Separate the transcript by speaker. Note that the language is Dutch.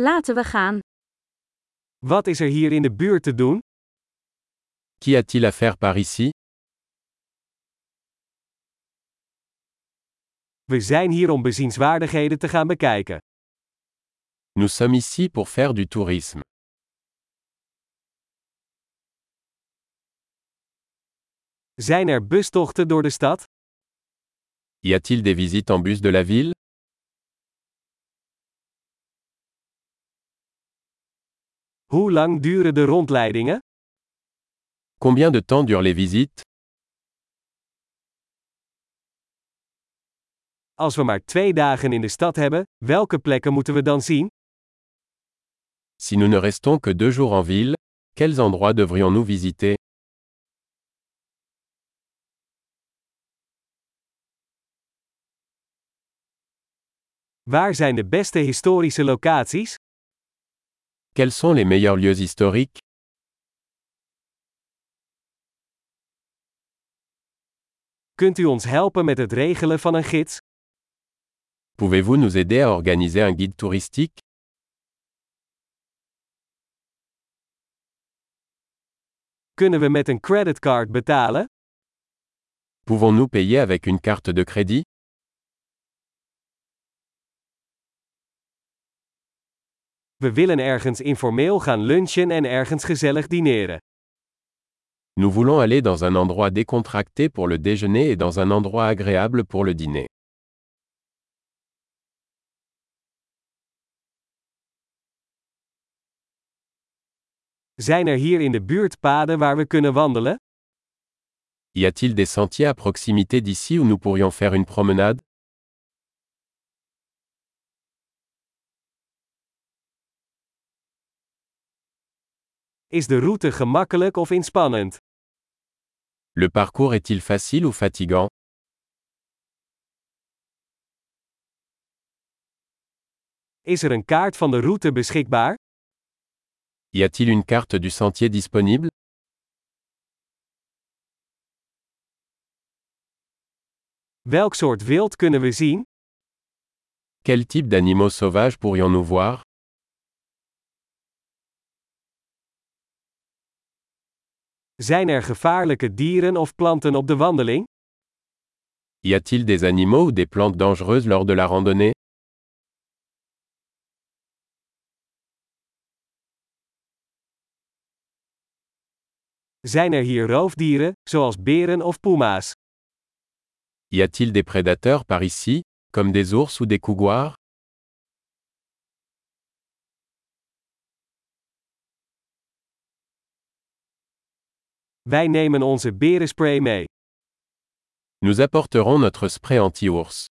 Speaker 1: Laten we gaan.
Speaker 2: Wat is er hier in de buurt te doen?
Speaker 3: Qu'y a-t-il à faire par ici
Speaker 2: We zijn hier om bezienswaardigheden te gaan bekijken.
Speaker 3: Nous sommes ici pour faire du tourisme.
Speaker 2: Zijn er bustochten door de stad?
Speaker 3: Y a-t-il des visites en bus de la ville
Speaker 2: Hoe lang duren de rondleidingen?
Speaker 3: Combien de temps durent les visites
Speaker 2: Als we maar twee dagen in de stad hebben, welke plekken moeten we dan zien?
Speaker 3: Si nous ne restons que deux jours en ville, quels endroits devrions-nous visiter
Speaker 2: Waar zijn de beste historische locaties?
Speaker 3: Quels sont les meilleurs lieux historiques
Speaker 2: Kunt u ons helpen met het regelen van een gids?
Speaker 3: Pouvez-vous nous aider à organiser un guide touristique
Speaker 2: Kunnen we met een creditcard betalen?
Speaker 3: Pouvons-nous payer avec une carte de crédit
Speaker 2: We willen ergens informeel gaan lunchen en ergens gezellig dineren.
Speaker 3: Nous voulons aller dans un endroit décontracté pour le déjeuner et dans un endroit agréable pour le dîner.
Speaker 2: Zijn er hier in de buurt paden waar we kunnen wandelen?
Speaker 3: Y a-t-il des sentiers à proximité d'ici où nous pourrions faire une promenade
Speaker 2: Is de route gemakkelijk of inspannend?
Speaker 3: Le parcours est-il facile ou fatigant
Speaker 2: Is er een kaart van de route beschikbaar?
Speaker 3: Y a-t-il une carte du sentier disponible
Speaker 2: Welk soort wild kunnen we zien?
Speaker 3: Quel type d'animaux sauvages pourrions-nous voir
Speaker 2: Zijn er gevaarlijke dieren of planten op de wandeling?
Speaker 3: Y a-t-il des animaux ou des plantes dangereuses lors de la randonnée
Speaker 2: Zijn er hier roofdieren, zoals beren of puma's?
Speaker 3: Y a-t-il des prédateurs par ici, comme des ours ou des couguars
Speaker 2: Wij nemen onze berenspray mee.
Speaker 3: Nous apporterons notre spray anti-ours.